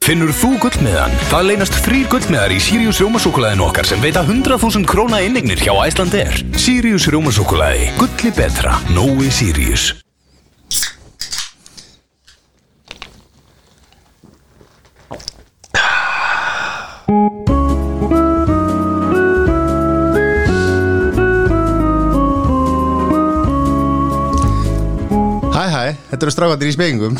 Finnur þú gullmiðan? Það leynast þrýr gullmiðar í Sirius Rjómasúkulaðin okkar sem veita 100.000 króna innignir hjá Æslander. Sirius Rjómasúkulaði. Gulli betra. Nói Sirius. Hæ hæ, þetta eru strákandir í spengum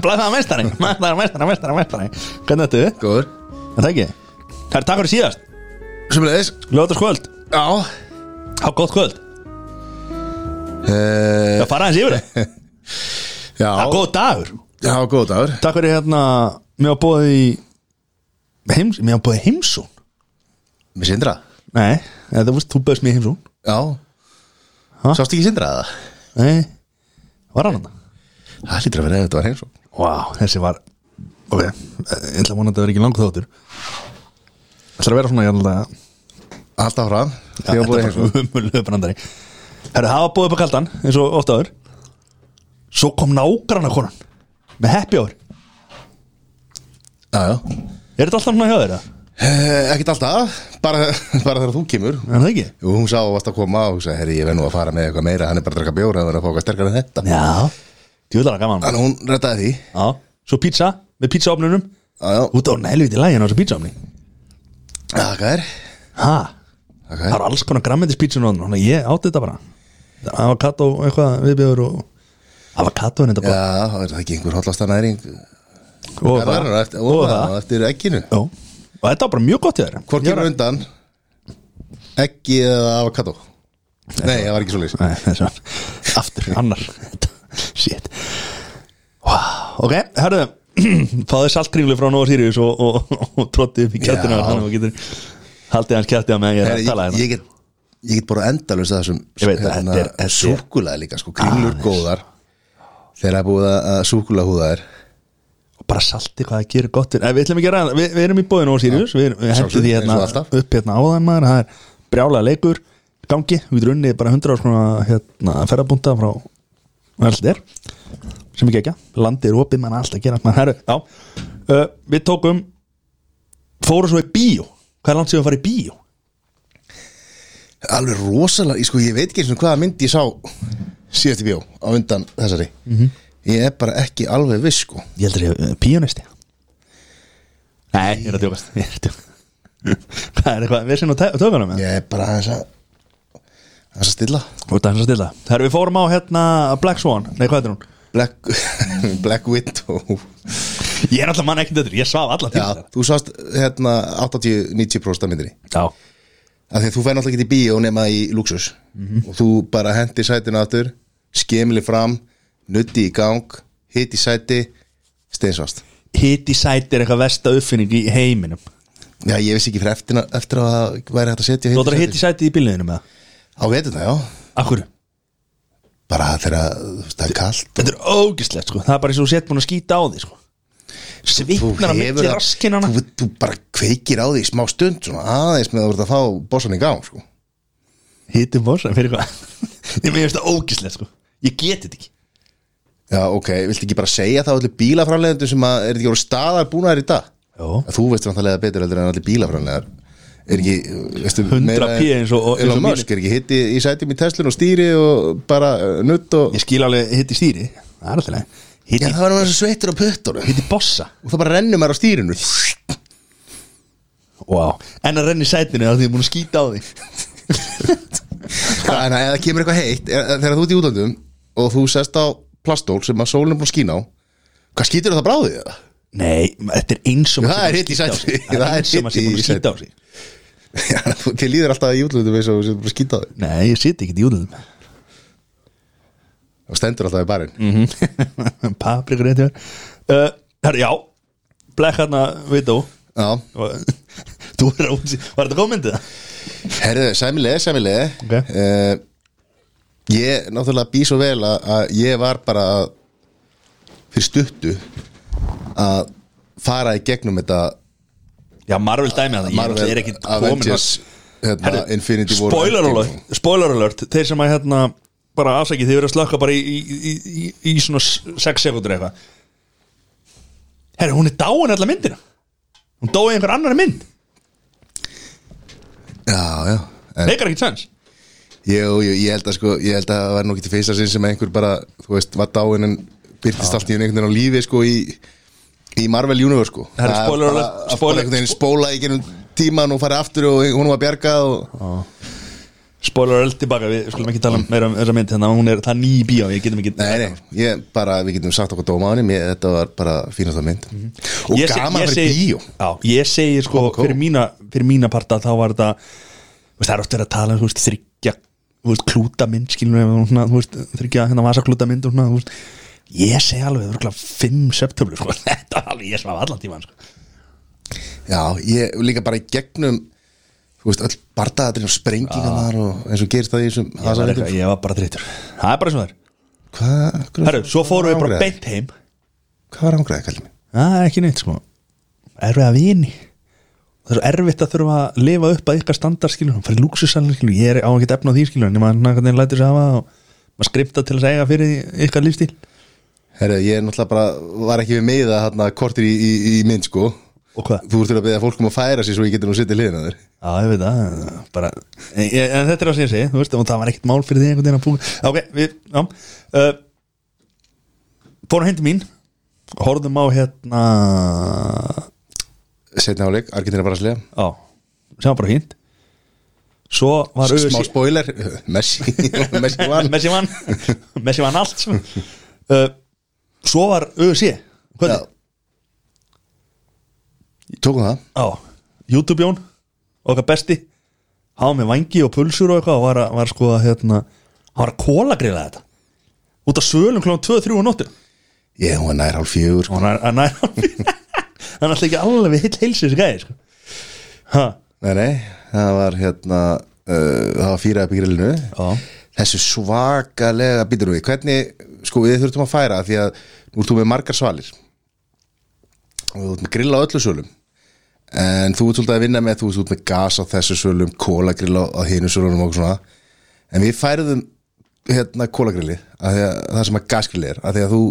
Blæðaða meistari, meistari, meistari, meistari, meistari Hvernig þetta er? Góður Það ekki Það er takk fyrir síðast, Sumleðis lögðast kvöld Já Há gótt kvöld, uh, það fara aðeins yfir það Eh, Já Það er góð dagur Já, góð dagur Takk fyrir hérna, mér hafa bóðið í heims, Mér hafa bóðið heimsún Með Sindra Nei, þetta fórst, þú bauðst mér í heimsún Já Ha? Sást ekki Sindra eða? Nei, var hann þetta? Það lítur að vera eða þetta var heim svo Vá, þessi var Ok, ég ætla að vona að þetta verið ekki langt þáttur Það er að vera svona jænilega Alltaf fram Já, Því að búið heim svo þetta var umulöðu brandari Herru, það var búið upp að kaldan eins og oft áður Svo kom nágrana konan með happy hour Já, já Er þetta alltaf svona hjá þeirra? Eh, Ekkert alltaf Bara, bara þegar þú kemur Er það ekki? Jú, hún sá að varst að koma og hún sagði Herri, ég verð nú að fara með eitthvað meira Hann er bara að draka bjóra Það verður að fá eitthvað sterkar en þetta Já Tjóðlega gaman maður. Þannig hún rettaði því Já Svo pizza með pizzaofnunum Já, já Út á hún helviti lægin á þessu pizzaofni Það er Ha? Það Það er var alls konar grammendis pizza núna Þannig að ég átti þetta bara Avocado eitthvað viðbjöður og Avocado en þetta Já, bara það er það ekki einhver hollastanæring Og Það er það eftir, og það, eftir egginu Já Og þetta var bara mjög gott hjá þeirra Hvort Ég var- kemur undan Eggi eða avokado Nei, það var ekki svo leys Nei, þessi var aftur, annar Shit wow. Ok, herðu Fáðu saltkringlu frá Nóa Sirius og, og, og, og trotti upp í kjættina Já. Þannig að þú getur haldið hans kjætti að meðan ég er Ég, að tala hérna ég get, ég get bara endalust að þessum Ég veit að þetta er- þetta er- súkulega líka sko, kringlur Aðeins. góðar þegar það er búið að að súkkulaði húða þær Og bara salti hvað það gerir gott fyrir Eh, Við ætlum ekki að ræða, við, við erum í bóðin Nóa Sirius Við, við Sjálfsagt, hendum því eins hérna og alltaf. upp hérna á þeim maður Það er brjálega leikur gangi Við getur unnið bara 100 svona hérna, ferðabúnta frá Allt er sem ekki ekki, landið er opið mann alltaf að gera mann herru, já, uh, við tókum fórum svo í bíó hvað er langt sem við farið í bíó? alveg rosalega, ég, sko, ég veit ekki eins og hvaða mynd ég sá síðast í bjó á undan þessari Mhm. ég er bara ekki alveg viss sko ég heldur ég uh, píónisti nei, ég er að djókast ég er að djókast það er eitthvað, við sinum að töfuna með ég er bara aðeins að aðeins að stilla og það er að stilla, herru, við fórum á hérna Black Swan, nei hvað heitir hún? Black, Black Widow ég er alltaf mann ekkert öllur, ég svaf alla Já, tíma þú sást hérna 80-90% af myndinni já, af því að þú fær náttúrulega ekki í bíó nema í luxus Mhm. og þú bara hendi sætinu aftur skemli fram, nutti í gang hitti sæti steinsvast hiti sæti er eitthvað versta uppfinning í heiminum Já, ég vissi ekki fyrir eftir, eftir að það væri hægt að setja þú ætlar að hiti sæti í bílniðinu með það Á veturna, já akkur, Bara þegar þú veist, það er kalt þetta er ógislegt sko. það er bara eins og þú sett búin að skýta á því sko. svipnar að milli það- raskinana þú, þú bara kveikir á því í smá stund svona aðeins með að þú ert að fá bossan í gang sko. hittum bósa fyrir hvað ég meðist það ógislegt sko ég geti þetta ekki Já, ok, viltu ekki bara segja það á allir bílaframleðendum sem að er þetta ekki voru staðar búnaðar í dag? Jó. Þú veist náttúrulega betur heldur en allir bílaframlegar Er ekki, veistu, 100 P eins og- eins og Elon mínir. Musk, er ekki hitti í sætum í Teslun og stýri og bara uh, nutt og ég skil alveg hitti stýri það er alltaf leið Já, hitti, það var náttúrulega sveittur á pöttunum hitti bossa Og það bara rennum maður á stýrinu wow. en að renni í sætinu þá því ég er búin að skýta á því Þannig að það kemur eitthvað heitt er- Þegar þú ert í útlandum og þú sest á plastól sem að sólinn er búin að skína á Hvað skýtur það bráðið það? nei, þetta er eins og Það er hitt í sæti. það Það er er eins og maður hitt í sem búin að skýta á því Já, þú- þér líður alltaf í útlandum eins og þú sért búin að skýta á þig nei, ég siti ekki í útlöðum og stendur alltaf í barinn Mhm. paprikur eitt hér herru, Uh, já black hérna, við þú Já, þú er að útsi var þetta góð myndið það? Herðu, sæmilega, sæmilega Ok. uh, Ég náttúrulega bý svo vel að, að ég var bara að- fyrir stuttu að fara í gegnum þetta já, Marvel dæmi að það Marvel ég er ekki komin Avengers hérna, Herru, Infinity War spoiler Endgame. alert, spoiler alert þeir sem að hérna bara afsækið þið verið að slökka bara í, í, í, í, í svona 6 sekundur eitthvað herru, hún er dáin allar myndina hún dói einhver annar mynd, já, já en, leikar ekki sens jú, jú, ég held að sko, ég held að það var nú ekki til fyrsta sinn sem einhver bara, þú veist, var dáin en byrtist allt í einu einhvern veginn á lífi sko í, í Marvel Universe sko Það Herra, er spoiler bara- alert, að bara spoiler- einhvern veginn spóla í genum tíman og fara aftur og hún var bjargað og spoiler öll tilbaka, við skulum ekki tala um meira um þessa mynd, þannig að hún er það er ný í bíó ég getum ekki Nei, nei, ég bara, við getum sagt okkur dóma á henni, mér- þetta var bara fínasta mynd Og Mhm. Ég seg- gaman ég að vera í segi- bíó Já, ég segi sko Kókó. Fyrir, mína, fyrir mína parta þá var þetta þú veist, Það er oft verið að tala um þú veist, þryggja þú veist, klúta mynd skilur við, svona, þú veist, Þryggja hérna vasaklúta mynd og svona, þú veist, Ég segi alveg örugglega Fimm september sko. Þetta er alveg ég svaf allan tíma sko. Já, ég líka bara í gegnum Þú veist, öll bardaðatrinn og sprengingarnar og eins og gerist það í þessum ég, var eitthvað, hasarvindum ég var bara drittur Það er bara svo þær Hvað? hvað- Herru, svo fórum við hvað bara rangraði? beint heim Hvað var ángraðið, kallið mér? Það er ekki neitt sko Erfið að vini Það er svo erfitt að þurfa að lifa upp að ykkar standard skilur Það fyrir lúksusalinn skilur Ég er á ekkert efna á því skilur En maður hvernig lætur sig hafa og maður skrifta til að segja fyrir ykkar lífstíl Herru, ég er náttúrulega bara, var ekki við með það hérna kortir í, í, í mynd, sko Og hvað? Þú ert til að beða fólk um að færa sér svo ég getur nú sitt í liðina þér Já, ég veit það bara, en, ég- en þetta er það sem ég segi Þú veist, og það var ekkert mál fyrir því einhvern veginn að búa Ok, við, já uh, Fórum heim til mín Horfðum á hérna Setna áleik, Argentina Brasilia Já, sem var bara fínt Svo var Smá öfugsí- spoiler, Messi Messi vann Messi vann Messi vann allt sko. uh, Svo var ÖSI Já. Tókum það á, YouTube Jón okkar besti hafa með vangi og pulsur og eitthvað og var, að- var sko að hérna hann var að kólagrila þetta út af sölum kl. 2-3 á nóttu Ég, hún var nær hálf fjögur, sko og hann er hann er hann er alltaf ekki alveg heill heilsu þessi gæði sko. ha, Nei, nei, það var hérna uh, Það var fýra upp í grillinu Já. Þessu svakalega býtur við Hvernig, sko, við þurftum að færa Því að nú ert þú með margar svalir Og þú ert með grill á öllu sölum En þú ert svolítið að vinna með Þú ert með gas á þessu sölum Kólagrill á, á hinu sölunum og svona En við færðum hérna kólagrilli að því að það sem að gasgrilli er að því að þú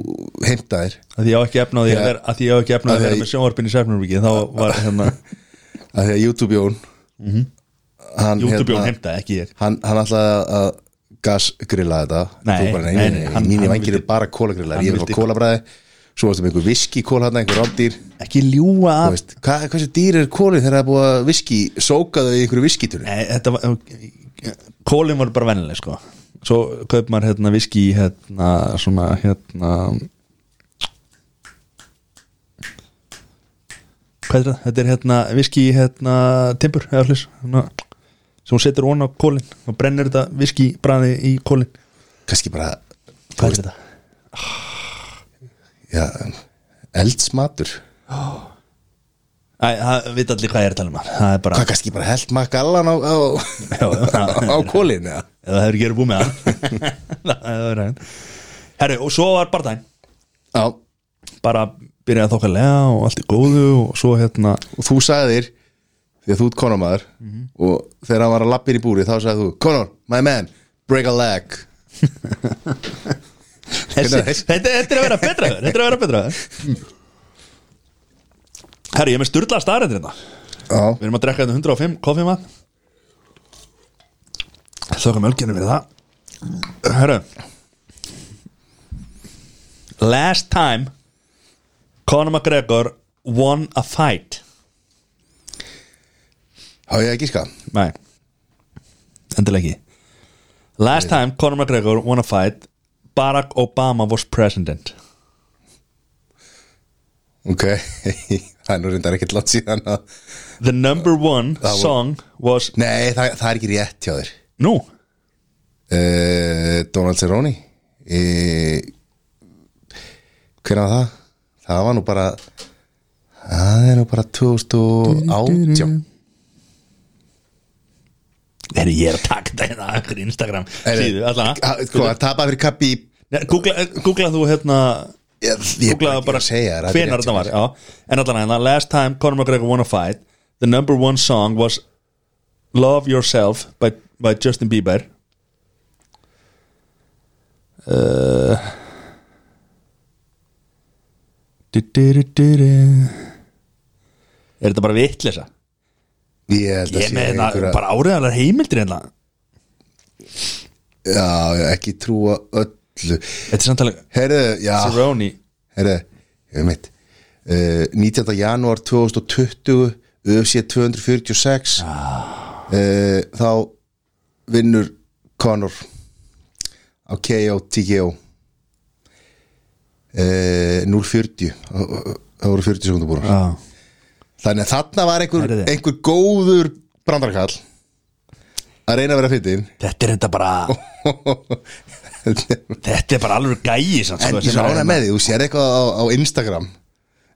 heimtaðir að því ég á ekki efnaði Já. yeah. að því ég á ekki Af efnaði því að að vera ég- með sjónvarpin í Sæfnurbyggi þá var hérna að því að YouTube Jón hann, Mhm. hérna, YouTube Jón heimtaði ekki ég hann, hann ætlaði að- að gasgrilla þetta Nei, Þú bara, nei, nei, nei, nei, nei, hann- mínir hann vangir vildi- eru bara kólagrillar hann ég vil fá vildi- kólabræði, svo varstu með einhver viski kól hann, einhver rándýr ekki ljúga að hvað, hversu dýr er kólið þegar það er búið að viski sókaðu í einhverju viskitunni Nei, þetta var Kólin var bara vennileg sko Svo kaup maður hérna viski í, hérna, svona hérna Hvað er það? Þetta er hérna viski í, hérna timbur eða hlis hérna, sem hún setur ón á kólin og brennir þetta viski bræði í kólin kannski bara Hvað er þetta? já, eldsmatur Æ, það veit allir hvað ég er að tala um það. það er bara hvað kannski bara held makkallan á, á, Já, já. á kólin já. eða það hefur ekki verið búið með það það hefur verið Herri, og svo var bardaginn já, bara byrjaði þokkalega og allt í góðu og svo hérna og þú sagðir því að þú ert konarmaður og þegar hann var að lappin í búri þá sagði þú konar, my man, break a leg þessi, Hvernig er það? þetta, þetta er að vera betra þetta er að vera betra Herri, ég er með styrla staðarendir hérna já, Við erum að drekka hérna 105 koffima Þökkum ölginu fyrir það Herru Last time Conor McGregor won a fight hafa ég að gíska Nei Endilega ekki Last time Conor McGregor won a fight Barack Obama was president Ok, það er nú reyndar ekkert látt síðan að The number one var- song was Nei, það, það er ekki rétt hjá þér Nú, uh, Donald Cerrone uh, Hvernig var það? Það var nú bara Það er nú bara 2018 er ég er að taka þetta hérna á einhverju Instagram Er- síðu allavega. Ha- Sko, að tapa fyrir kappi í Nei, Googla Googla þú hérna Ég, ég Googla bara að segja þér, þetta er hvenar rétt þetta hjá var þér. já. En allan hérna, last time Conor McGregor won a fight The number one song was Love Yourself by, by Justin Bieber uh, Du-du-du-du-du. Er þetta bara vitleysa? Ég held að Ég sé með þetta einhverja bara áriðalega heimildir hérna Já, já, ekki trúa öllu Þetta er samtalið Herðu, já Cerrone Herðu, ég veit uh, 19. janúar 2020 UFC 246 ah. Eh, Þá vinnur Conor á KO, TKO uh, 0.40 Það voru 40 sekundar búin Já Þannig að þarna var einhver, Ah. Herðu. einhver góður brandarkall að reyna að vera fyndin Þetta er þetta bara Þetta er bara alveg gæi samt, En sko, ég sem er rána hérna- með því, þú sér eitthvað á, á Instagram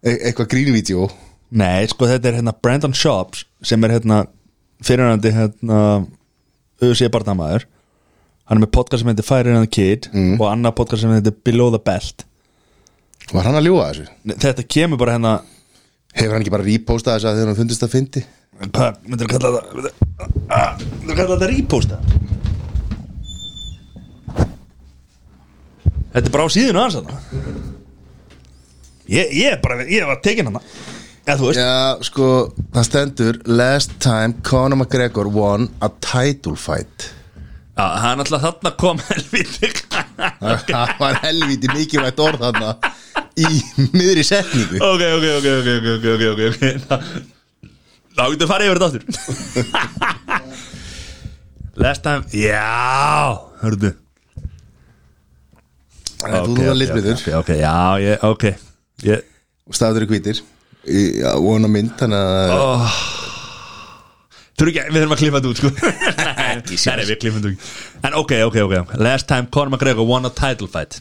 e eitthvað grínvídeó Nei, sko þetta er hérna Brandon Shops sem er hérna fyrirhandi hérna UFC barnamaður Hann er með podcast sem heitir Fire and the Kid og annað podcast sem heitir Below the Belt Var hann að ljúga þessu? Nei, Þetta kemur bara hérna Hefur hann ekki bara repostað þessu að þegar hann fundist að fyndi? Hvað, myndir kalla þetta myndirðu- ah, Myndir kalla þetta reposta Þetta er bara á síðinu aðeins þarna Ég, ég er bara, ég var tekin hana Eða þú veist Já, sko, það stendur Last time Conor McGregor won a title fight Já, það er náttúrulega þarna kom helviti Það var helviti mikilvægt orð þarna í miðri setningu Ok, ok, ok, ok, ok, ok, ok, ok, ok Þá- Þá getur farið yfir þetta aftur Last time, já, hörðu Þannig að Þú þú var litbriður Ok, ok, já, ég, ok ég, og staður í hvítir Í- Já, vona mynd, þannig að Þú ekki, við þurfum að klippa þetta út, sko Ekki sér Nei, við klippum þetta út En ok, ok, ok Last time Conor McGregor won a title fight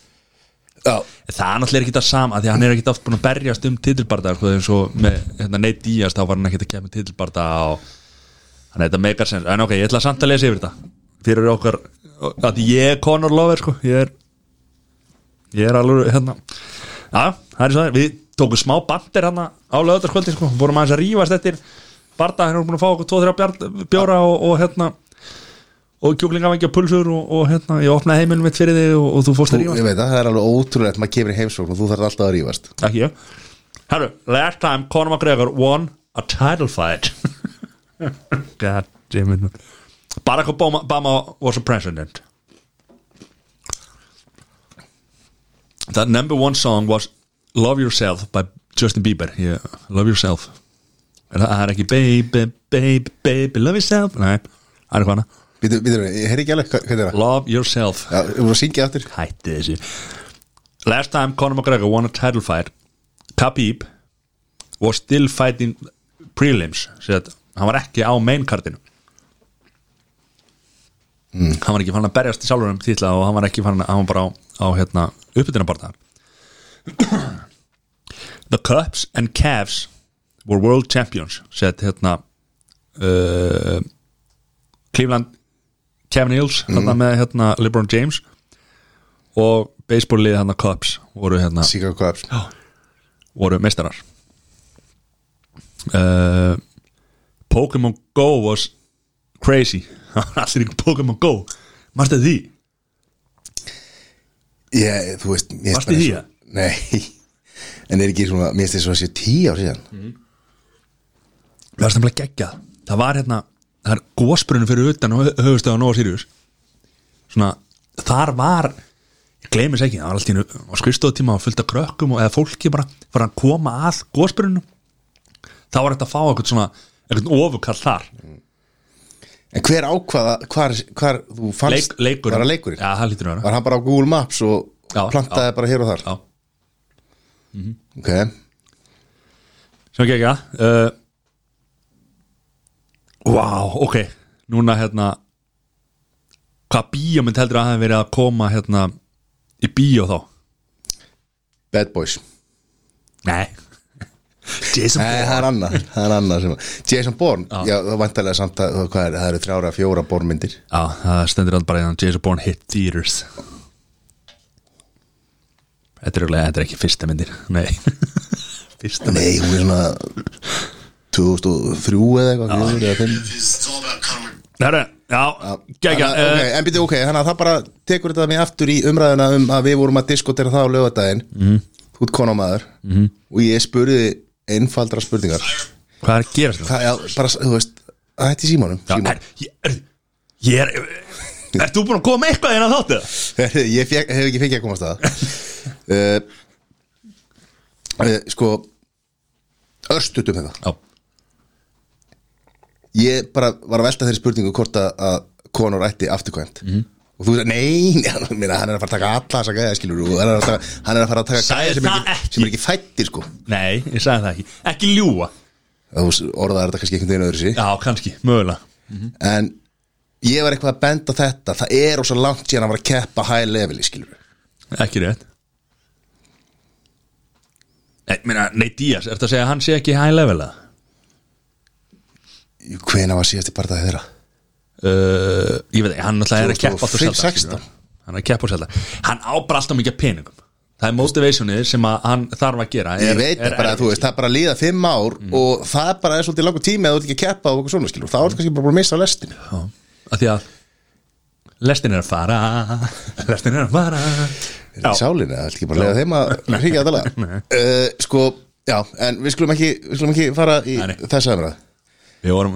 Já, Það er náttúrulega ekki það sama af Því að hann er ekki oft búin að berjast um titilbarda sko, eins og með hérna, Nate Diaz þá var hann ekkert að kemja titilbarda og þannig að þetta meikar sens En ok, ég ætla samt að lesa yfir þetta Fyrir okkar að ég er Conor Lover sko. ég er ég er alveg hérna Já, það er svo það Við tókum smá bandir hérna á lögðarskvöldi sko. vorum aðeins að rífast eftir barda hérna vorum búin að fá okkur 2-3 bjóra og, og hérna og kjúklingavengja pulsur og, og hérna ég opnaði heimilum mitt fyrir þig og, og þú fórst þú, að rífast ég veit að það er alveg ótrúlegt maður kemur í heimsókn og þú þarf alltaf að rífast Ekki ég Herru, last time Conor McGregor won a title fight God damn it man. Barack Obama, Obama was a president That number one song was Love Yourself by Justin Bieber yeah, Love Yourself Er það það er ekki Baby, baby, baby, love yourself Nei, það er hvað hana Býtu, býtu, ég heyri ekki alveg, hvað hvað er það? Love Yourself Já, ég voru að syngja aftur hætti þessu Last time Conor McGregor won a title fight Khabib was still fighting prelims sér að hann var ekki á maincardinu mm. hann var ekki fann að berjast í sjálfurum títla og hann var ekki fann að hann var bara á, á hérna, uppbytunabarta The Cubs and Cavs were world champions said hérna uh, Cleveland Kevin Hills hérna með hérna LeBron James og baseball-lið hérna Cubs voru hérna Chicago Cubs voru meistarar uh, Pokémon Go was crazy allir ykkur Pokémon Go marstu því Ég, þú veist mér finnst bara Varstu í því, eins og- Nei, en er ekki svona, mér finnst þess að sé tíu ár síðan það var stemlega geggjað það var hérna, það er gósbrunni fyrir utan höfustöðan og Sirius svona, þar var ég gleymis ekki, það var allt í einu á skrifstofutíma og fullt af krökkum og eða fólki bara fyrir að koma að gósbrunnu þá var þetta að fá eitthvað svona eitthvað ofukall þar En hver ákvaða, hvar, hvar þú fannst Leik, leikurinn Var að leikurinn? já, það lítur að vera Var hann bara á Google Maps og Já, plantaði bara hér og þar? Mhm. já. Ok, sem ekki ekki að uh, Wow, ok Núna hérna Hvað bíómynd heldur að hafa verið að koma hérna í bíó þá? Bad Boys Nei Jason Nei, það er annað, það er annað sem Jason Bourne, já, það vantarlega samt að hvað er, það eru þrjára, fjóra Bourne-myndir Já, það stendur hann bara hérna Jason Bourne hit theaters Þetta er, örugglega- þetta er ekki fyrsta myndir Nei Fyrsta myndir Nei, hún er svona 2003 eða eitthvað fjögur eða fimm. Herra, já, Uh, gægja Þannig að- ok, En byrju, ok, þannig að það bara tekur þetta mig aftur í umræðuna um að við vorum að diskotera það á lögadaginn mm. Þú þú ert konamaður -hmm. og ég spurði þig einfaldra spurningar Hvað er að gera þetta? það er bara, þú veist, það hætti símanum Símon. er, ég er Ert þú búin að koma með eitthvað hérna inn að þáttu? ég fek, hef ekki fengið að komast að uh, uh, sko örstut um þetta Já, ég bara var að velta þeirri spurningu hvort að, að konur ætti afturkvæmt og þú sagði, nei, nei minna, hann er að fara að taka alla þessa gæða skilur og hann er að, taka, hann er að fara að taka Sagði gæða sem, það er ekki. ekki- sem er ekki fættir sko nei, ég sagði það ekki Ekki ljúa Að þú orðaðar þetta kannski einhvern veginn öðru sí Já, kannski, mögulega en ég var eitthvað að benda á þetta það er ósa langt síðan að var að keppa high leveli skilur Ekki rétt Nei, meina, nei Díaz, ertu að segja að hann sé ekki high level að? hvena var síðast í barðaði þeirra Uh, ég veit ekki, hann náttúrulega er að keppa alltaf 2005, sjálf 16. Hann er að keppa sjálf Hann á bara alltaf mikið af peningum Það er motivationið sem að hann þarf að gera ég veit það bara, þú sko. veist, það er bara að líða fimm ár Mm. og það er bara er svolítið langur tími að þú ert ekki að keppa og okkur svona skilur, þá er kannski bara búin að missa á lestin að Því að lestin er að fara Lestin er að fara er í sálinni, það er ekki bara að leiða þeim að hringja að tala uh, sko, já, en við skulum ekki, við skulum ekki fara í Nei, nei. þessa umræð Við vorum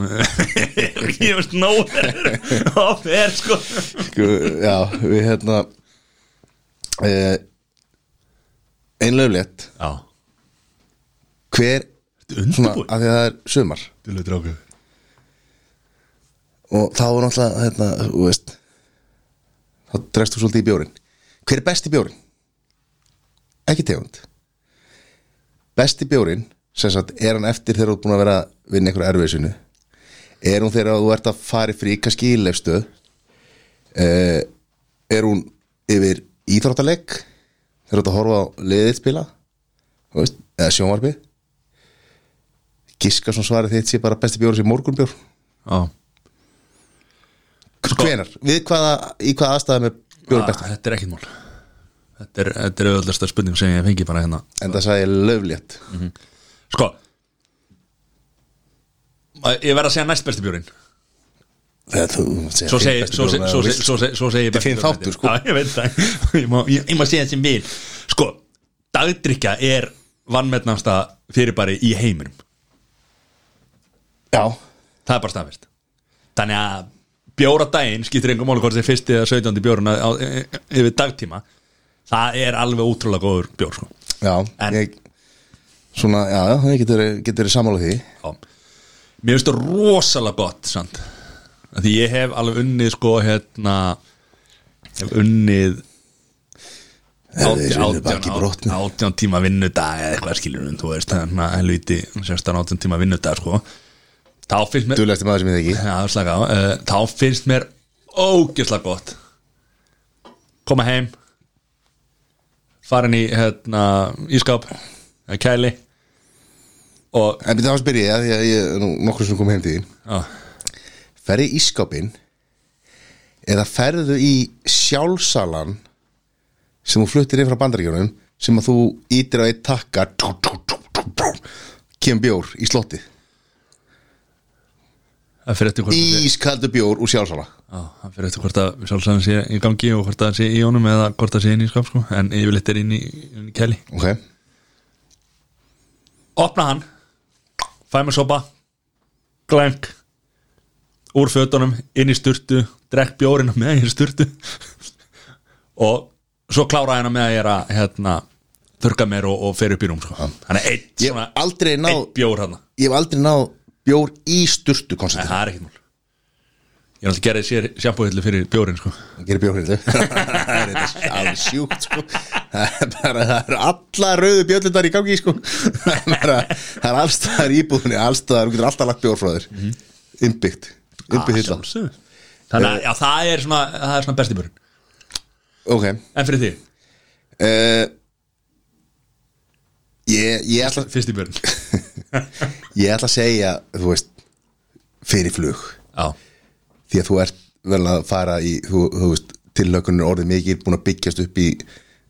Ég veist nóg Það er sko sko, já, við hérna uh, einlega létt Já, hver, svona, undirbúin af því að það er sumar Þú leitur ákveð og þá er náttúrulega, hérna, þú veist þá dregst þú svolítið í bjórin hver er besti bjórin? ekki tegund besti bjórin sem sagt, er hann eftir þegar þú ert búin að vera að vinna einhverja erfiðsynu er hún þegar þú ert að fara í frí kannski í lefstu eh, er hún yfir íþróttaleg þegar þú ert að horfa á liðið spila þú veist, eða sjónvarpi giska svona svarið þitt sé bara besti bjórin sem morgunbjór Já hvenar, við hvaða, í hvaða aðstæðum er bjórin besti Sko- Ah, Þetta er ekkit mál Þetta er, þetta er auðvöldasta spurning sem ég fengi bara hérna en það sagði ég löflétt Sko Ma- Ég verð að segja næst besti bjórin þegar þú segir Svo þinn segi, besti svo segi, bjórinn, svo eða segi, þú svo segi, svo segi Þetta er þinn þáttur, sko. Já, ég veit það Ég má, ég, ég má segja sem vil Sko, dagdrykja er vannmennasta fyrirbæri í heiminum veist. já, Það er bara staðfest Þannig að bjóra daginn skiptir engum máli hvort þið fyrsti eða 17. bjórun á, e- e- yfir dagtíma Það er alveg ótrúlega góður bjór sko. já, En- ég svona, já, það getur, getur sammála því Já. Mér finnst það rosalega gott samt. Af Því ég hef alveg unnið sko hérna hef unnið þeir unnu baki brotnu. átján tíma vinnudag eða eitthvað skilur þú veist þannig að helviti 16 átján tíma vinnudag sko þá finnst mér duðlegasti maður sem ég þekki Já, slaka á. Eh, þá finnst mér ógeðslega gott koma heim farin í hérna, ískáp eh, kæli og en byrja þá spyr ég, af því að ég er nú nokkur sem kom heim til því já, ferði í skápin eða ferðu í sjálfsalan sem þú fluttir inn frá bandaríkjónum sem að þú ítir á eitt takka tú, tú, tú, tú, tú, kem bjór í slotti það fyrir eftir hvort það sé- ískaldu bjór úr sjálfsala Já, það fyrir eftir hvort að sjálfsæðan sé í gangi og hvort það sé í honum eða hvort það sé inn í skáp sko. en yfirleitt er inn í, inn í kæli ok, opna hann fæ mér sopa glenk úr fötunum, inn í sturtu drekk bjórinn með að ég er í sturtu og svo klára hérna með að ég er að hérna, þurka mér og, og fer upp í rúm sko. þannig að eitt, Ég hef svona, aldrei náð- eitt bjór hann Nei, ég hef aldrei náð bjór í sturtu konceptið, það er ekkert mál ég er alltaf gerði sér sjampóhillu fyrir bjórinn sko. það gerir bjórhildu það er þetta alveg sjúkt sko. það er bara, það eru alla rauðu bjöllundar í gangi sko. það er bara, það er allstaðar íbúðinni allstaðar, þú getur alltaf lagt bjór frá þér Mhm. innbyggt, Ah, innbyggt hilla sjálfsögðu. þannig að já, það er svona, það er svona besti bjórinn ok, en fyrir þig, uh, ég, ég ætla fyrsti bjórinn já, ég ætla að segja, þú veist fyrir flug, því að þú ert vel að fara í, þú, þú veist tilhlökunin er orðið mikið, búin að byggjast upp í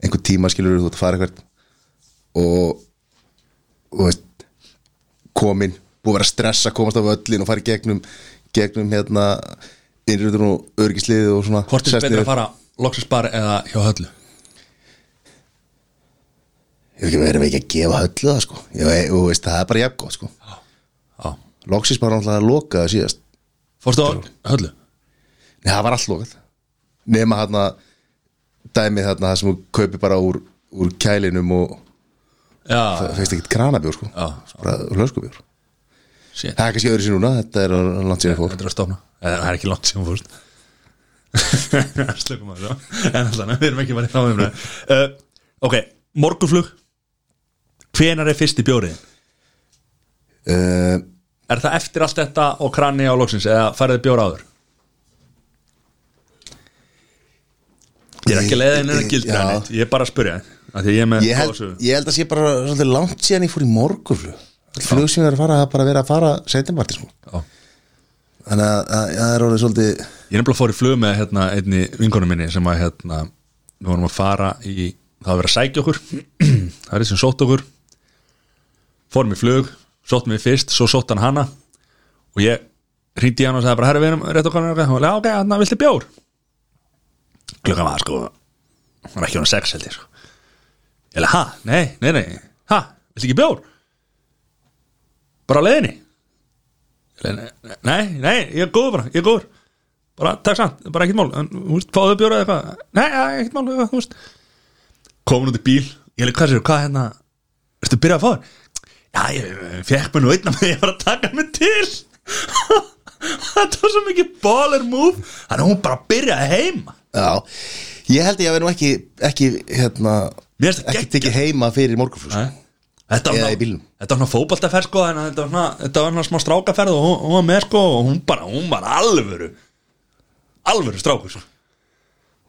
einhver tíma skilur þú ert að fara eitthvað og þú veist komin, búið að vera að stressa komast á völlin og fara í gegnum gegnum hérna innröndun og örgislið og svona hvort er sest betra niður. að fara loksins bar eða hjá höllu Ég ekki verið ekki að gefa höllu það sko ég, vei- Þú veist, það er bara jafn gott sko Já. Loksins bara náttúrulega að loka það síðast Fórstu á höllu? Nei, það var allt lokað Nema þarna dæmið þarna það sem þú kaupir bara úr, úr kælinum og Já, það feist ekkert kranabjór sko Já. bara hlöskubjór shit, Það er kannski öðru sér núna, þetta er langt sér fór þetta er að stofna Eða, Það er ekki langt sem þú fórst Slökum að það En alltaf, við erum ekki bara í þá umræðu uh, Ok, morgunflug Hvenær er fyrsti bjórið? uh, Er það eftir allt þetta og kranni á loksins eða færið bjór áður? Ég er ekki leiðin en Ég- að gildra já. neitt Ég er bara að spyrja Af Því ég er með ég, held, góða sögu. ég held að sé bara svolítið langt síðan ég fór í morgunflug Öll Flug sem ég er að fara, það er bara að vera að fara setjumvartir sko Já. Þannig að, að, að það er orðið svolítið Ég er nefnilega fór í flug með hérna, einni vingunum minni sem að hérna, við vorum að fara í það var verið að sækja okkur það er þessum sótt okkur fórum í flug, sótt mig fyrst svo sótt hann hana og ég hringdi í hann og sagði bara herri við erum rétt okkar og hann var ok, hann viltu bjór klukkan var sko hann var ekki hann sex held ég sko ég leið, ha, nei, nei, nei ha, viltu ekki bjór bara á leiðinni Ég leið, nei, nei, nei, ég er góður bara, ég er góður bara, takk samt, bara ekkert mál en, þú veist, fáðu bjóra eða eitthvað nei, ja, ekkert mál, þú veist komin út í bíl, ég leik, hvað sér, hvað hérna ertu að byrja að fá þér já, ég fekk mér nú einna með ég var að taka mig til þetta var svo mikið baller move þannig að hún bara byrjaði heima Já, ég held ég að vera nú ekki ekki, hérna, Mér finnst það ekki geggjað. tekið heima fyrir morgunflug sko. Nei. Þetta var Eða í svona, bílnum. þetta var svona fótbaltaferð sko, en þetta var svona, þetta var svona smá strákaferð og hún, hún var með sko og hún bara, hún var alvöru alvöru strákur sko.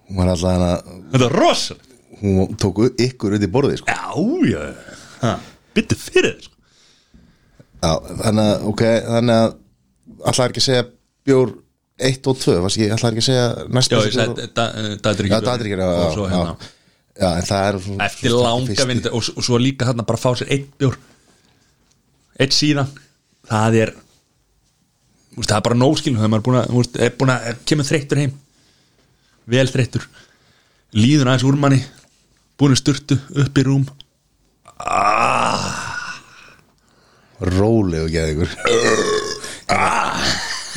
Hún var alltaf hana, þetta var rosalegt hún tók ykkur undir borðið sko. Já, já, já Bittu fyrir þér sko. Já, þannig að, ok, þannig að alltaf er ekki að segja bjór 1 og 2, varst ekki, alltaf er ekki að segja næstu Já, ég sagði eh, dagdrykki Já, dagdrykkir, já, Og svo já, hérna já, já, en það er svona, Eftir svona langa fyrsti- vindu og, s- og svo líka þarna bara fá sér eitt bjór Eitt síðan Það er úst, Það er bara nóskilum Þegar maður er búin að, úst, er búin að kemur þreyttur heim Vel þreyttur Líður aðeins úr manni Búin að sturtu upp í rúm Rólegur geða ykkur Ah!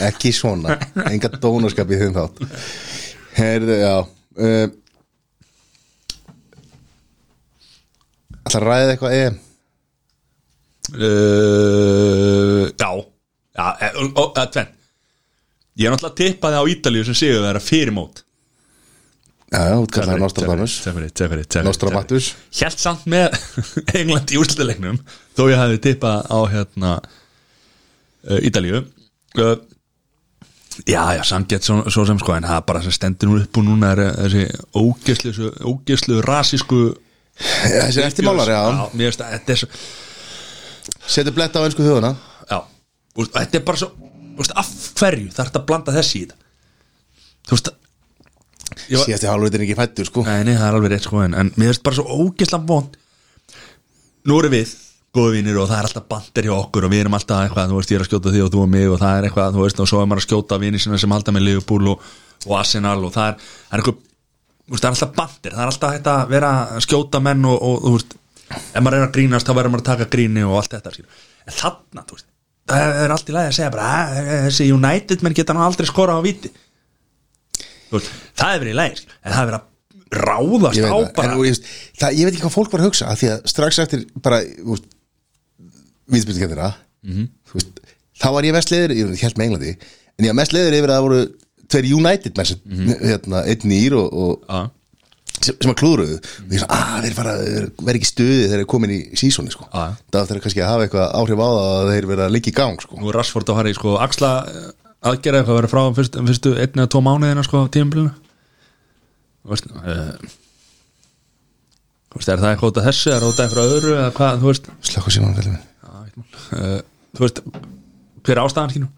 Ekki svona Enga dónaskap í þeim þátt Herðu, já uh, Það að ræða eitthvað eh? EM uh, Já Já, e- og- og- eða tvenn Ég er náttúrulega tippaði á Ítalíu sem séu það er að fyrir mót Já, já, útkallar Nostradamus Nostramatus Hjælt samt með England í úrslutaleiknum þó ég hefði tippað á hérna uh, Ítalíu uh, Já, já, samgett svo, svo sem sko en það er bara sem stendur nú upp og núna er eh, þessi ógeslu, ógeslu rasísku Eh, Þessi eftirmálar, já Já, mér veist að þetta er svo Setur bletta á einsku þjóðuna Já, úst, þetta er bara svo úst, af hverju þarf þetta að blanda þessi í þetta Þú veist ég var- Síðast í hálfritin ekki fættur, sko Nei, nei, það er alveg rétt sko en, en mér finnst bara svo ógislega vond Nú erum við góðu vinir og það er alltaf bandir hjá okkur og við erum alltaf eitthvað, þú veist, ég er að skjóta því og þú og mig og það er eitthvað, þú veist, og svo er maður að skjóta vinir sinna sem halda með Liverpool og, og Arsenal og það er, það er eitthvað þú veist, það er alltaf bandir, það er alltaf þetta að vera að skjóta menn og, og þú veist ef maður er að grínast, þá verður maður að taka gríni og allt þetta, skilur, en þarna, þú veist það er allt í lagi að segja bara "Ah, þessi United menn geta nú aldrei skora á viti Þú veist, það er verið í lægir en það er verið að ráðast Ég á veit, það, bara en, þú veist, það, ég veit ekki hvað fólk var að hugsa af Því að strax eftir bara Víðspilskeppnina mm -hmm. Þá var ég mest leiður Ég held með Englandi En ég var mest leiður yfir að það voru Tveir United menn sem hérna, Einn ír og, og Já, sem, sem að klúruðu Og ég svona, að þeir fara Verð ekki í stuði þegar þeir komin í sísoni sko. Já, já. Það þarf kannski að hafa eitthvað áhrif á það Að þeir verða að liggja í gang sko. nú er Rashford að fara í sko axla eh, aðgerða eitthvað að vera frá um fyrst, fyrstu einn eða tvo mánuðina sko tímabilinu Þú veist eh, Þú veist, er það eitthvað út af þessu, er það út af einhverju öðru eða hvað, þú veist Slökkur síman fælum minn Já, ekkert mál. Eh, Þú veist, hver er ástæðan skilur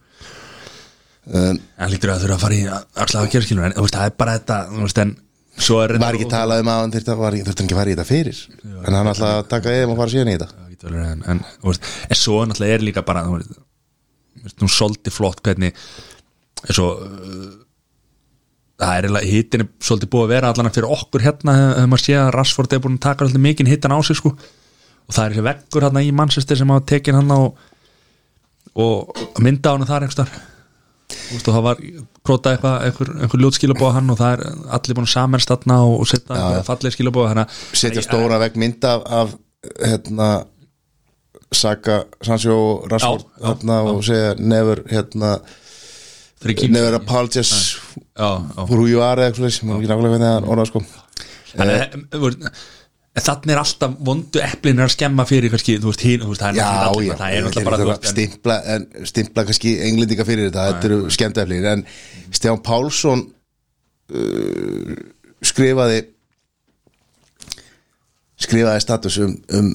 Um, En lítur að þurfa að fara í axla aðgerða skilur en þú veist, það er bara þetta, þú veist, en svo er var ekki talað um að hann þurfti að var ekki- þurfti hann ekki að fara í þetta fyrir en hann alltaf að taka eða og fara síðan í þetta það getur alveg en, en, þú veist, en svo náttúrulega er líka bara þú veist, þú veist, hún soldi flott hvernig en svo uh, það er eiginlega hittin er svolítið búið að vera allan að fyrir okkur hérna þegar maður sé að Rashford er búin að taka alltaf mikinn hittan á sig sko og og það er þessi veggur hann í Manchester sem hafa tekin hann á og mynda hann þar einhverstar Vist, og það var krótað eitthvað einhver, einhver ljót skilabóða hann og það er allir búin saman stanna og, og setja ja. falleg skilabóða þannig að setja stóra vegg mynd af, af hérna Saka, Sancho og Rashford Já, já, hérna, og segja never hérna, fyrir kýmst never apologize já, já. for who you are eða eitthvað sem er ekki nákvæmlega hvernig hann orðað sko þannig að þú veist, en þannig er alltaf vondu eplin er að skemma fyrir kannski, þú veist, hín, þú veist, það er Já, náttúrulega allir, já, það er ég náttúrulega ætla bara ekki þú að veist, en- stimpla, en, stimpla kannski englendinga fyrir þetta, þetta eru skemmtæflir en Stján Pálsson uh, skrifaði skrifaði status um, um,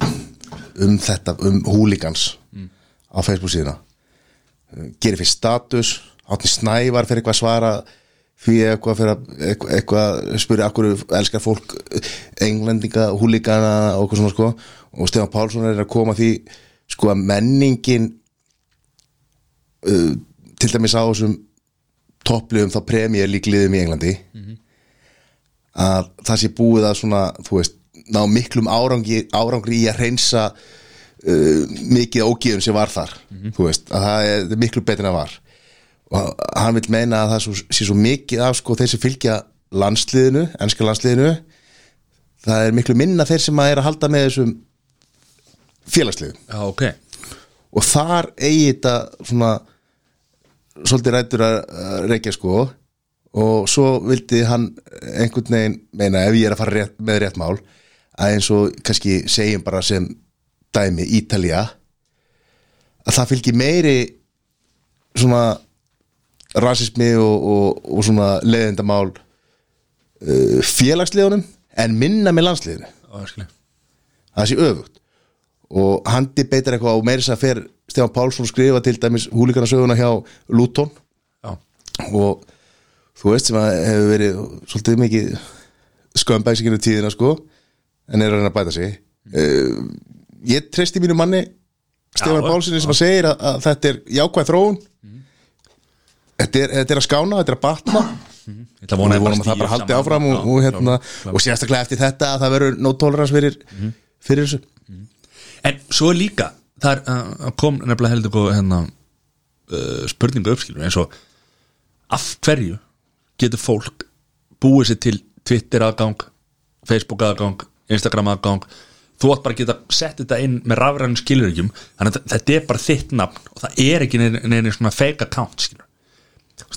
um þetta, um húligans Mm. á Facebook síðuna gerir fyrir status átni snævar fyrir eitthvað að svara því eitthvað fyrir að eitthvað, eitthvað spyrir akkur elskar fólk eh, englendinga, húlíkana og eitthvað svona sko og Stefán Pálsson er að koma að því sko að menningin uh, til dæmis á þessum toppliðum þá premjör líkliðum í Englandi að það sé búið að svona þú veist, ná miklum árangri, árangri í að reynsa mikið ógíðum sem var þar þú veist, að það er þetta er miklu betur en það var og hann vil meina að það svo, sé svo mikið af sko þeir sem fylgja landsliðinu, ennska landsliðinu það er miklu minna þeir sem að er að halda með þessum félagsliðum já, ok, og þar eigi þetta svona svolítið rættur að að rekja sko og svo vildi hann einhvern veginn meina ef ég er að fara rétt, með rétt mál að eins og kannski segjum bara sem dæmi Ítalía að það fylgir meiri svona rasismi og, og, og svona leiðindamál uh, félagslegunum en minna með landsliðinu já, ég skilja það sé öfugt og hann debeitar eitthvað og meira þess að fer Stefán Pálsson skrifa til dæmis húlíkarnasöguna hjá Luton já, og þú veist sem að hefur verið svolítið mikið skömbæksinginu tíðina sko en er að reyna að bæta sig uh, ég treysti mínu manni Stefán Já, Pálssoni sem að segir að, að þetta er jákvæð þróun þetta, er, þetta er að skána, þetta er að batna ég ætla að og vona við vonum að það stígi bara haldi saman. áfram og, Já, og, hérna, já. og sérstaklega eftir þetta að það verður no tolerance fyrir, Mhm. fyrir þessu En svo er líka þar uh, kom nefnilega heldur góð hérna, uh, spurningu uppskilur eins og af hverju getur fólk búið sér til Twitter aðgang Facebook aðgang, Instagram aðgang þú átt bara að geta sett þetta inn með rafrænum skilurjum, þannig að þetta er bara þitt nafn og það er ekki neina, neina svona fake account skilur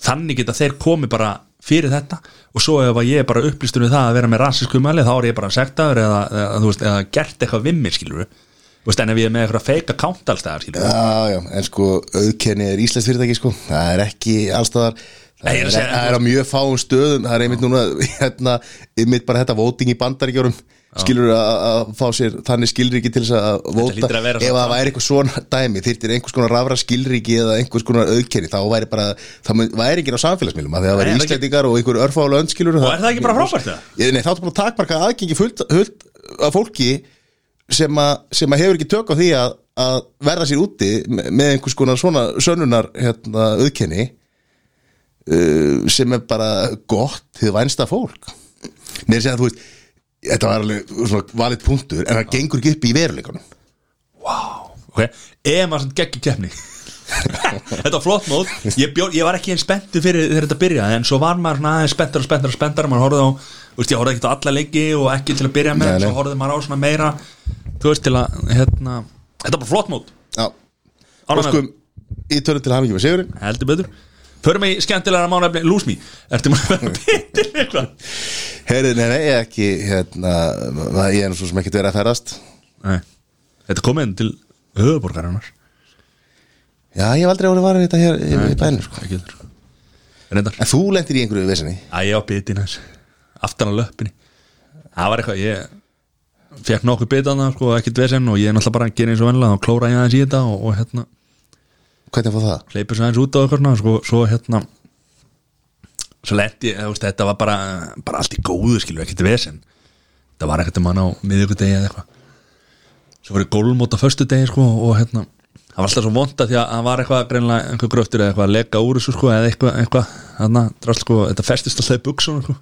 þannig geta þeir komið bara fyrir þetta og svo ef að ég er bara upplýstur við það að vera með rasísku umæli þá er ég bara sektaður eða, eða, þú veist, eða gert eitthvað vimmi skilur veist, en ef ég er með eitthvað fake account alls það skilur Já, já, en sko auðkenni er Íslands fyrirtæki sko, það er ekki allstaðar Nei, það ég er er, að segja- það er á mjög fáum stöðum það er einmitt núna, hérna einmitt bara þetta voting í bandaríkjórum skilur að að fá sér þannig skilríki til þess að vóta, hlýtur að vera ef svona. það væri eitthvað svona dæmi, þyrtir einhvers konar rafra skilríki eða einhvers konar auðkenni, þá væri bara það mun- væri ekki á samfélagsmiðlum, af því að það Nei, væri það er ekki- Íslandingar og einhver örfála önd skilur og er það ekki bara frábært það? Ég, nei, þá er bara takmarka aðgengi fullt, fullt af fólki sem, a, sem að hefur ekki tök á því að, að verða sér úti me- með einhvers konar svona sönnunar hérna, auðkenni uh, sem er bara gott þið vænsta fólk Nei, segja, þú veist, þetta var alveg svona valið punktur, en það gengur ekki upp í veruleikunum ok, ef maður sem geggjum keppni þetta var flott mót ég, bjó, ég var ekki eins spenntu fyrir þegar þetta byrjaði en svo var maður svona aðeins spenntur og spenntur og spenntur maður horfði á, þú veist, ég horfði ekkert á alla leiki og ekki til að byrja með, Nei, en nei. svo horfði maður á svona meira þú veist, til að, hérna þetta var bara flott mót, Já, Ánægður. óskum í törnum til hafingjum með sigurinn heldur betur förum við í skemmtilega mánafni, lúsmi ertu maður að vera bitur eitthvað Herri, nei, nei, ekki, hérna, ég er nú svo sem ekkert verið að ferðast nei, þetta kom inn til höfuborgar annars, Já, ég hef aldrei orðið varin þetta hér í, í bænum, sko ekki þurr reyndar, En þú lendir í einhverju vesinni að ég á bitin hans aftan á löppinni það var eitthvað, ég fekk nokkuð bitan það, sko, ekki dvesen og ég er náttúrulega bara að gera eins og vennilega og klóra ég aðeins í þetta og, og hérna, Hvernig fór það? hleypur svo aðeins út á eitthvað svona, sko, svo hérna svo lendi, þú veist, þetta var bara bara allt í góðu, skilur, ekkert vesen þetta var ekkert um hann á miðvikudegi eða eitthvað svo var ég gólmót á föstudegi, sko, og hérna það var alltaf svo vonda því að það var eitthvað greinlega einhver gröftur eða eitthvað að leka úr þessu, sko, eða eitthvað, eitthvað, þarna, drasl, sko, þetta festist alltaf í buksunum, sko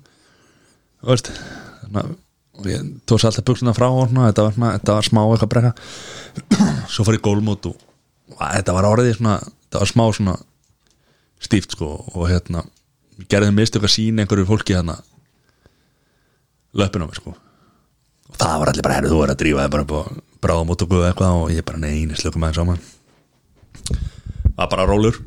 þú veist, þarna og ég tóðs alltaf buksuna frá og svona, þetta var, svona, þetta var smá eitthvað brekka svo fór ég gólmót og, og þetta var orðið svona, þetta var smá svona stíft sko og hérna gerðum mistök að sína einhverju fólki hérna löppin á mig sko og það var allir bara herrið þú er að drífa þig bara upp og bráða mót og guða eitthvað og ég bara neini slökum aðeins á mann var bara rólur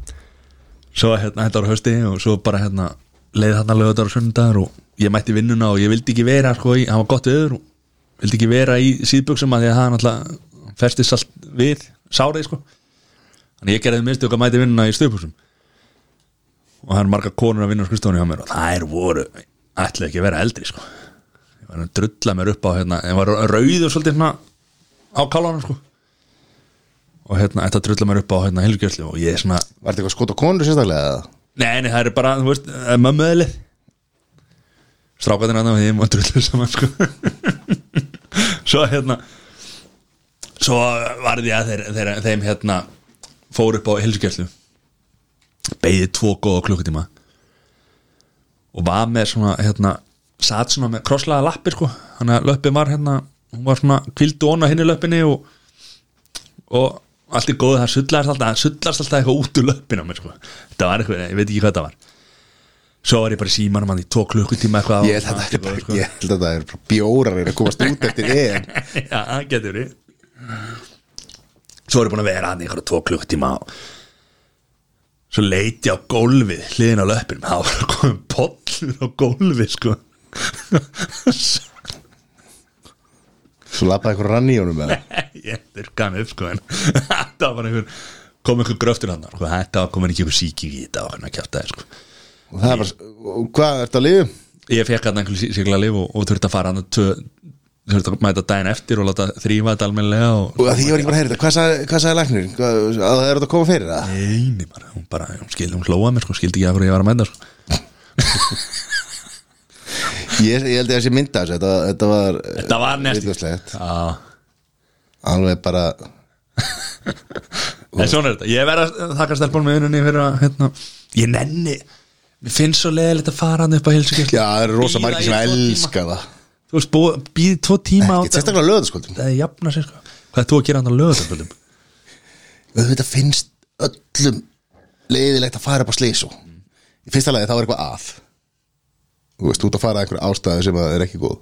svo hérna þetta var á hausti og svo bara hérna leiði þarna lögðar og söndagar og ég mætti í vinnuna og ég vildi ekki vera sko, í, hann var gott viður og vildi ekki vera í síðbuksum að því að hann alltaf festist allt við, sárið sko þannig ég gerði minnstu okkar mætti í vinnuna í stöðbuksum og það eru marga konur að vinna á skrifstofunni á mér og þær voru, ætlaði ekki að vera eldri sko ég var að drulla mér upp á hérna, ég var rauður svolítið svona á kálanum sko og hérna, þetta drulla mér upp á hérna helgjörslu og ég er svona Var þetta eitthvað skot á konur sérstaklega eða? Nei, nei, það eru bara, þú veist, það er mömmuðlið Strákaðin að það og drullu saman, sko Svo hérna Svo varði ég að þeir, þeir, þeim hérna fór upp á hilsugjæslu Beðið tvo góða klukkutíma Og var með svona, hérna Satt svona með krosslaða lappir, sko Þannig að löppin var hérna Hún var svona kvildu onna hinn í löppinni og og allt er góð, það sullast alltaf það sullast alltaf eitthvað út úr löppin á mér sko. þetta var eitthvað, ég veit ekki hvað það var svo var ég bara í símanum hann í tvo klukkutíma eitthvað Ég held að þetta er sko. bara, sko. ég held að það er bara bjórar eru að komast út eftir EM Já, það getur við Svo er ég búin að vera hann í einhverja tvo klukkutíma og svo leit ég á gólfið hliðin á löppinum, það var komin pollur á gólfið sko Svo lappaði eitthvað rann í honum með það ég þurrka hann upp sko en þetta var bara einhver kom einhver gröftur hann sko, þetta var komin ekki einhver síki í þetta og hann að kjæfta sko. Og það er bara, og hvað ertu að lifu? ég fekk hann einhver síkla lif og, og þurfti að fara hann þurfti að mæta daginn eftir og láta þrýfa þetta almennilega og Og að því ég var ekki bara að heyra þetta, hvað sagði, hvað sagði læknir? Hvað, að það eru þetta að koma fyrir það? neini bara, hún bara, hún skildi, hún hlóa mér sko, skildi ekki af hverju ég var að mæta sko. Ég, ég held ég að sé mynda þessu, þetta, þetta var eh, þetta var næstu viðbjóðslegt. Já. Alveg bara, En svona er þetta, ég verð að þakka stelpunum með ununni fyrir að, hérna, ég nenni mér finnst svo leiðilegt að fara hann upp á hilsugjast já það eru rosa margir sem elska það Þú veist, bú- býði tvo tíma á Ekki, sérstaklega löðaskvöldum Það er jafna sér sko Hvað er þú að gera hann á lögðarföldum? Þetta finnst öllum leiðilegt að fara upp á slísu Í fyrsta lagi þá er eitthvað að Þú veist, út að fara að einhverja ástæðu sem að er ekki góð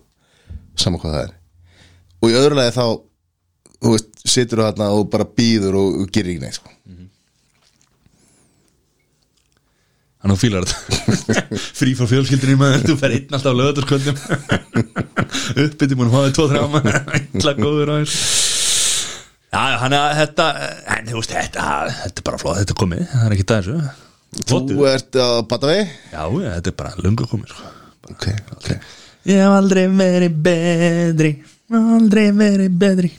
Saman hvað það er Og í öðru lagi þá Þú veist, situr þarna og bara býður og, og gerir ekki neitt sko. Þannig að þú fílar þetta Frí frá fjölskyldinni maður Þú fer einn alltaf á lögðarföldum Uppbytti múin hóðið tvo þráma Ítla góður á þér Já, hann er að þetta En þú veist, þetta, þetta er bara flóð Þetta er komið, það er ekki það þessu Flottu. Þú ert að bata vegi Já, já, þetta er bara lungu komið sko. okay, okay. Ég hef aldrei verið betri Aldrei verið betri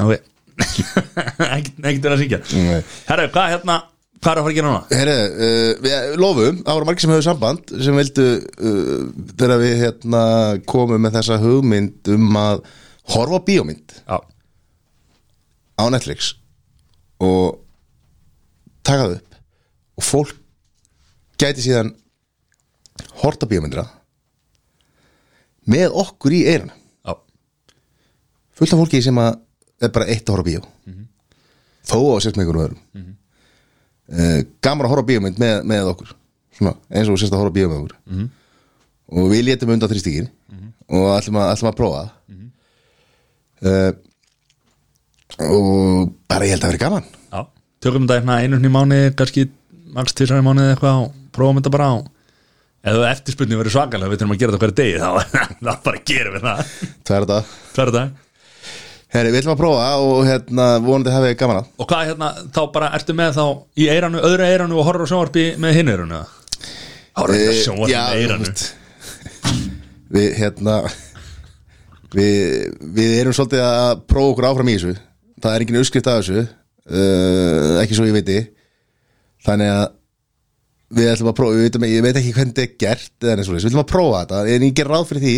Ok Ekkert ekkert verið að syngja Nei. Herra, hvað hérna Hvað er að fara að gera núna? Herre, uh, við lofum, það voru margir sem höfðu samband sem vildu uh, þegar við hérna, komum með þessa hugmynd um að horfa á bíómynd Já, á Netflix og taka það upp og fólk gæti síðan horta bíómyndina með okkur í eirun já, fullt af fólki sem að er bara eitt að horfa á bíó þó að sérst með einhverjum öðrum mm gaman að horfa á bíómynd með, með okkur svona, eins og sérst að horfa á bíó með okkur og við létum undan þrýstíkin mm og ætlum að, ætlum að prófa það uh, og bara ég held að vera gaman já Tökum þetta hérna einu sinni í mánu kannski Max tvisar í mánu eða eitthvað og Prófum þetta bara á Ef þú eftirspunni verið svakalega Við þurfum að gera þetta hverju degi Þá, þá bara gerum við það það er þetta Hverju dag Heri, við ætlum að prófa og hérna vonandi hafið þið gaman að Og hvað hérna, þá bara ertu með þá í eiranu, öðru eiranu og horfur á sjónvarpi með hinn eiranu? eða? Horfur Eh, á sjónvarpi já, með eiranu? veist. við hérna við, við erum svolítið að prófa okkur áfram í þessu það er engin uppskrift af þessu uh, ekki svo ég veiti þannig að við ætlum að prófa, við veitum, ég veit ekki hvernig þetta er gert eða neins svoleiðis, við ætlum að prófa þetta en ég ger ráð fyrir því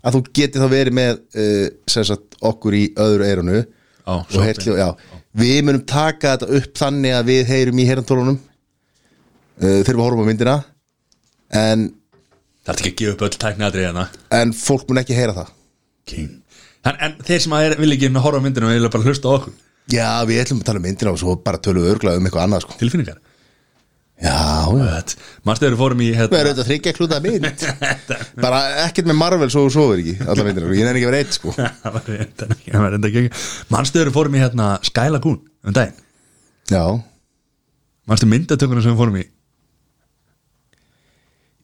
að þú geti þá verið með uh, sem sagt okkur í öðru eirunu Á, og sjónvarpi. heyrtljó, já, við munum taka þetta upp þannig að við heyrum í heyrantólunum uh, þegar við horfum á myndina en Það er ekki að gefa upp öll hérna. tækni aðriðina en fólk mun ekki heyra það King en, en þeir sem að er, vil ekki horfa á myndinu vilja bara hlusta á okkur, Já, við ætlum að tala um myndina og svo bara tölum við örglega um eitthvað annað sko. tilfinningar Já, já Manstu þegar við fórum í Við erum hérna, auðvitað að þryggja klúta mynd Bara ekkert með Marvel svo þú sofir ekki Alla myndina, sko. ég nefnir ekki að vera eitt sko Það var reyndar ekki- það var reyndar ekki Manstu þegar við fórum í hérna Sky Lagoon um daginn, Já, manstu myndatökuna sem við fórum í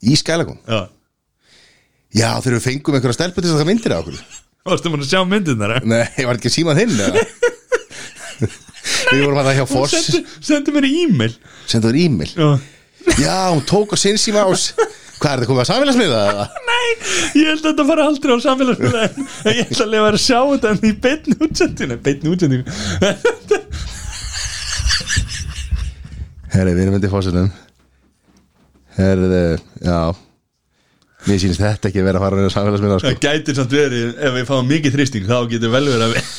í skælakum Já, Já, þegar við fengum einhverja stelpu til þess að það myndir á okkur varstu mann að sjá eh? myndin þar Nei, ég var ekki að síma þinn eða? Við vorum að það hjá Foss Sendu mér í e-mail Sendur e-mail Já. Já, hún tók á sinn síma á s- Hvað er þetta komið að samfélagsmiða? eða? Nei, ég held að þetta fara aldrei á samfélagsmiðla en en ég held að lifa að sjá þetta en í beinni útsendinu beinni útsendinu Herri, við erum undir fósinnum Herri, já Mér sýnist þetta ekki að vera að fara að samfélagsmiða sko. Það gætir samt verið ef við fáum mikið þrýsting þá getur vel verið að við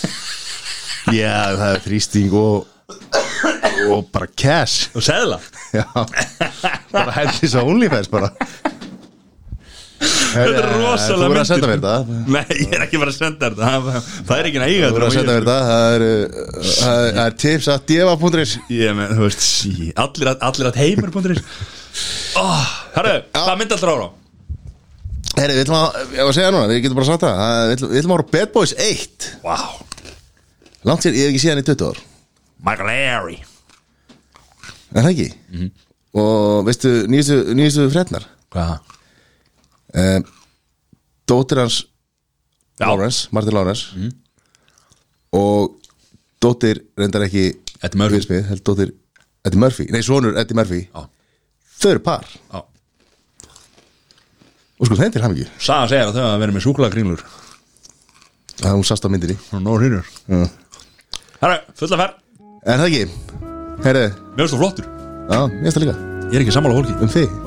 Já, það er þrýsting og og bara cash og seðla Já, bara hendis á OnlyFans bara Þetta er rosalega Þú verður að myndir. senda mér þetta Nei, ég er ekki bara að senda þetta það, það er ekki að eiga Þú verður að senda mér þetta Það eru, uh, það er tips að deva.is Ég með, þú veist, sí, allir að, allir að heimur.is oh, Herru, hvað myndi allra ára? Herri, við ætlum að, ég var að segja núna, við getum bara að sagt það Það- Við ætlum- við ætlum að voru Bad Boys 1 Vá, wow. Langt sér, ég hef ekki séð hann í 20 ár Michael Airy Er það ekki? Og veistu, nýjustu, nýjustu frednar Hvað? um, Dóttir hans Já, Mhm. Lawrence, Martin Lawrence og dóttir reyndar ekki Eddie Murphy. Will Smith, held dóttir Eddie Murphy, nei sonur Eddie Murphy Já. þau eru par já og sko þeim til hamingi, Saga segir að þau að vera með súkulagringlur það hún sast á myndinni Nú, nú er hinnur Já. Herra, fulla ferð, en það ekki, herðu mér finnst þú flottur já, mér finnst það líka, Ég er ekki sammála fólki um þig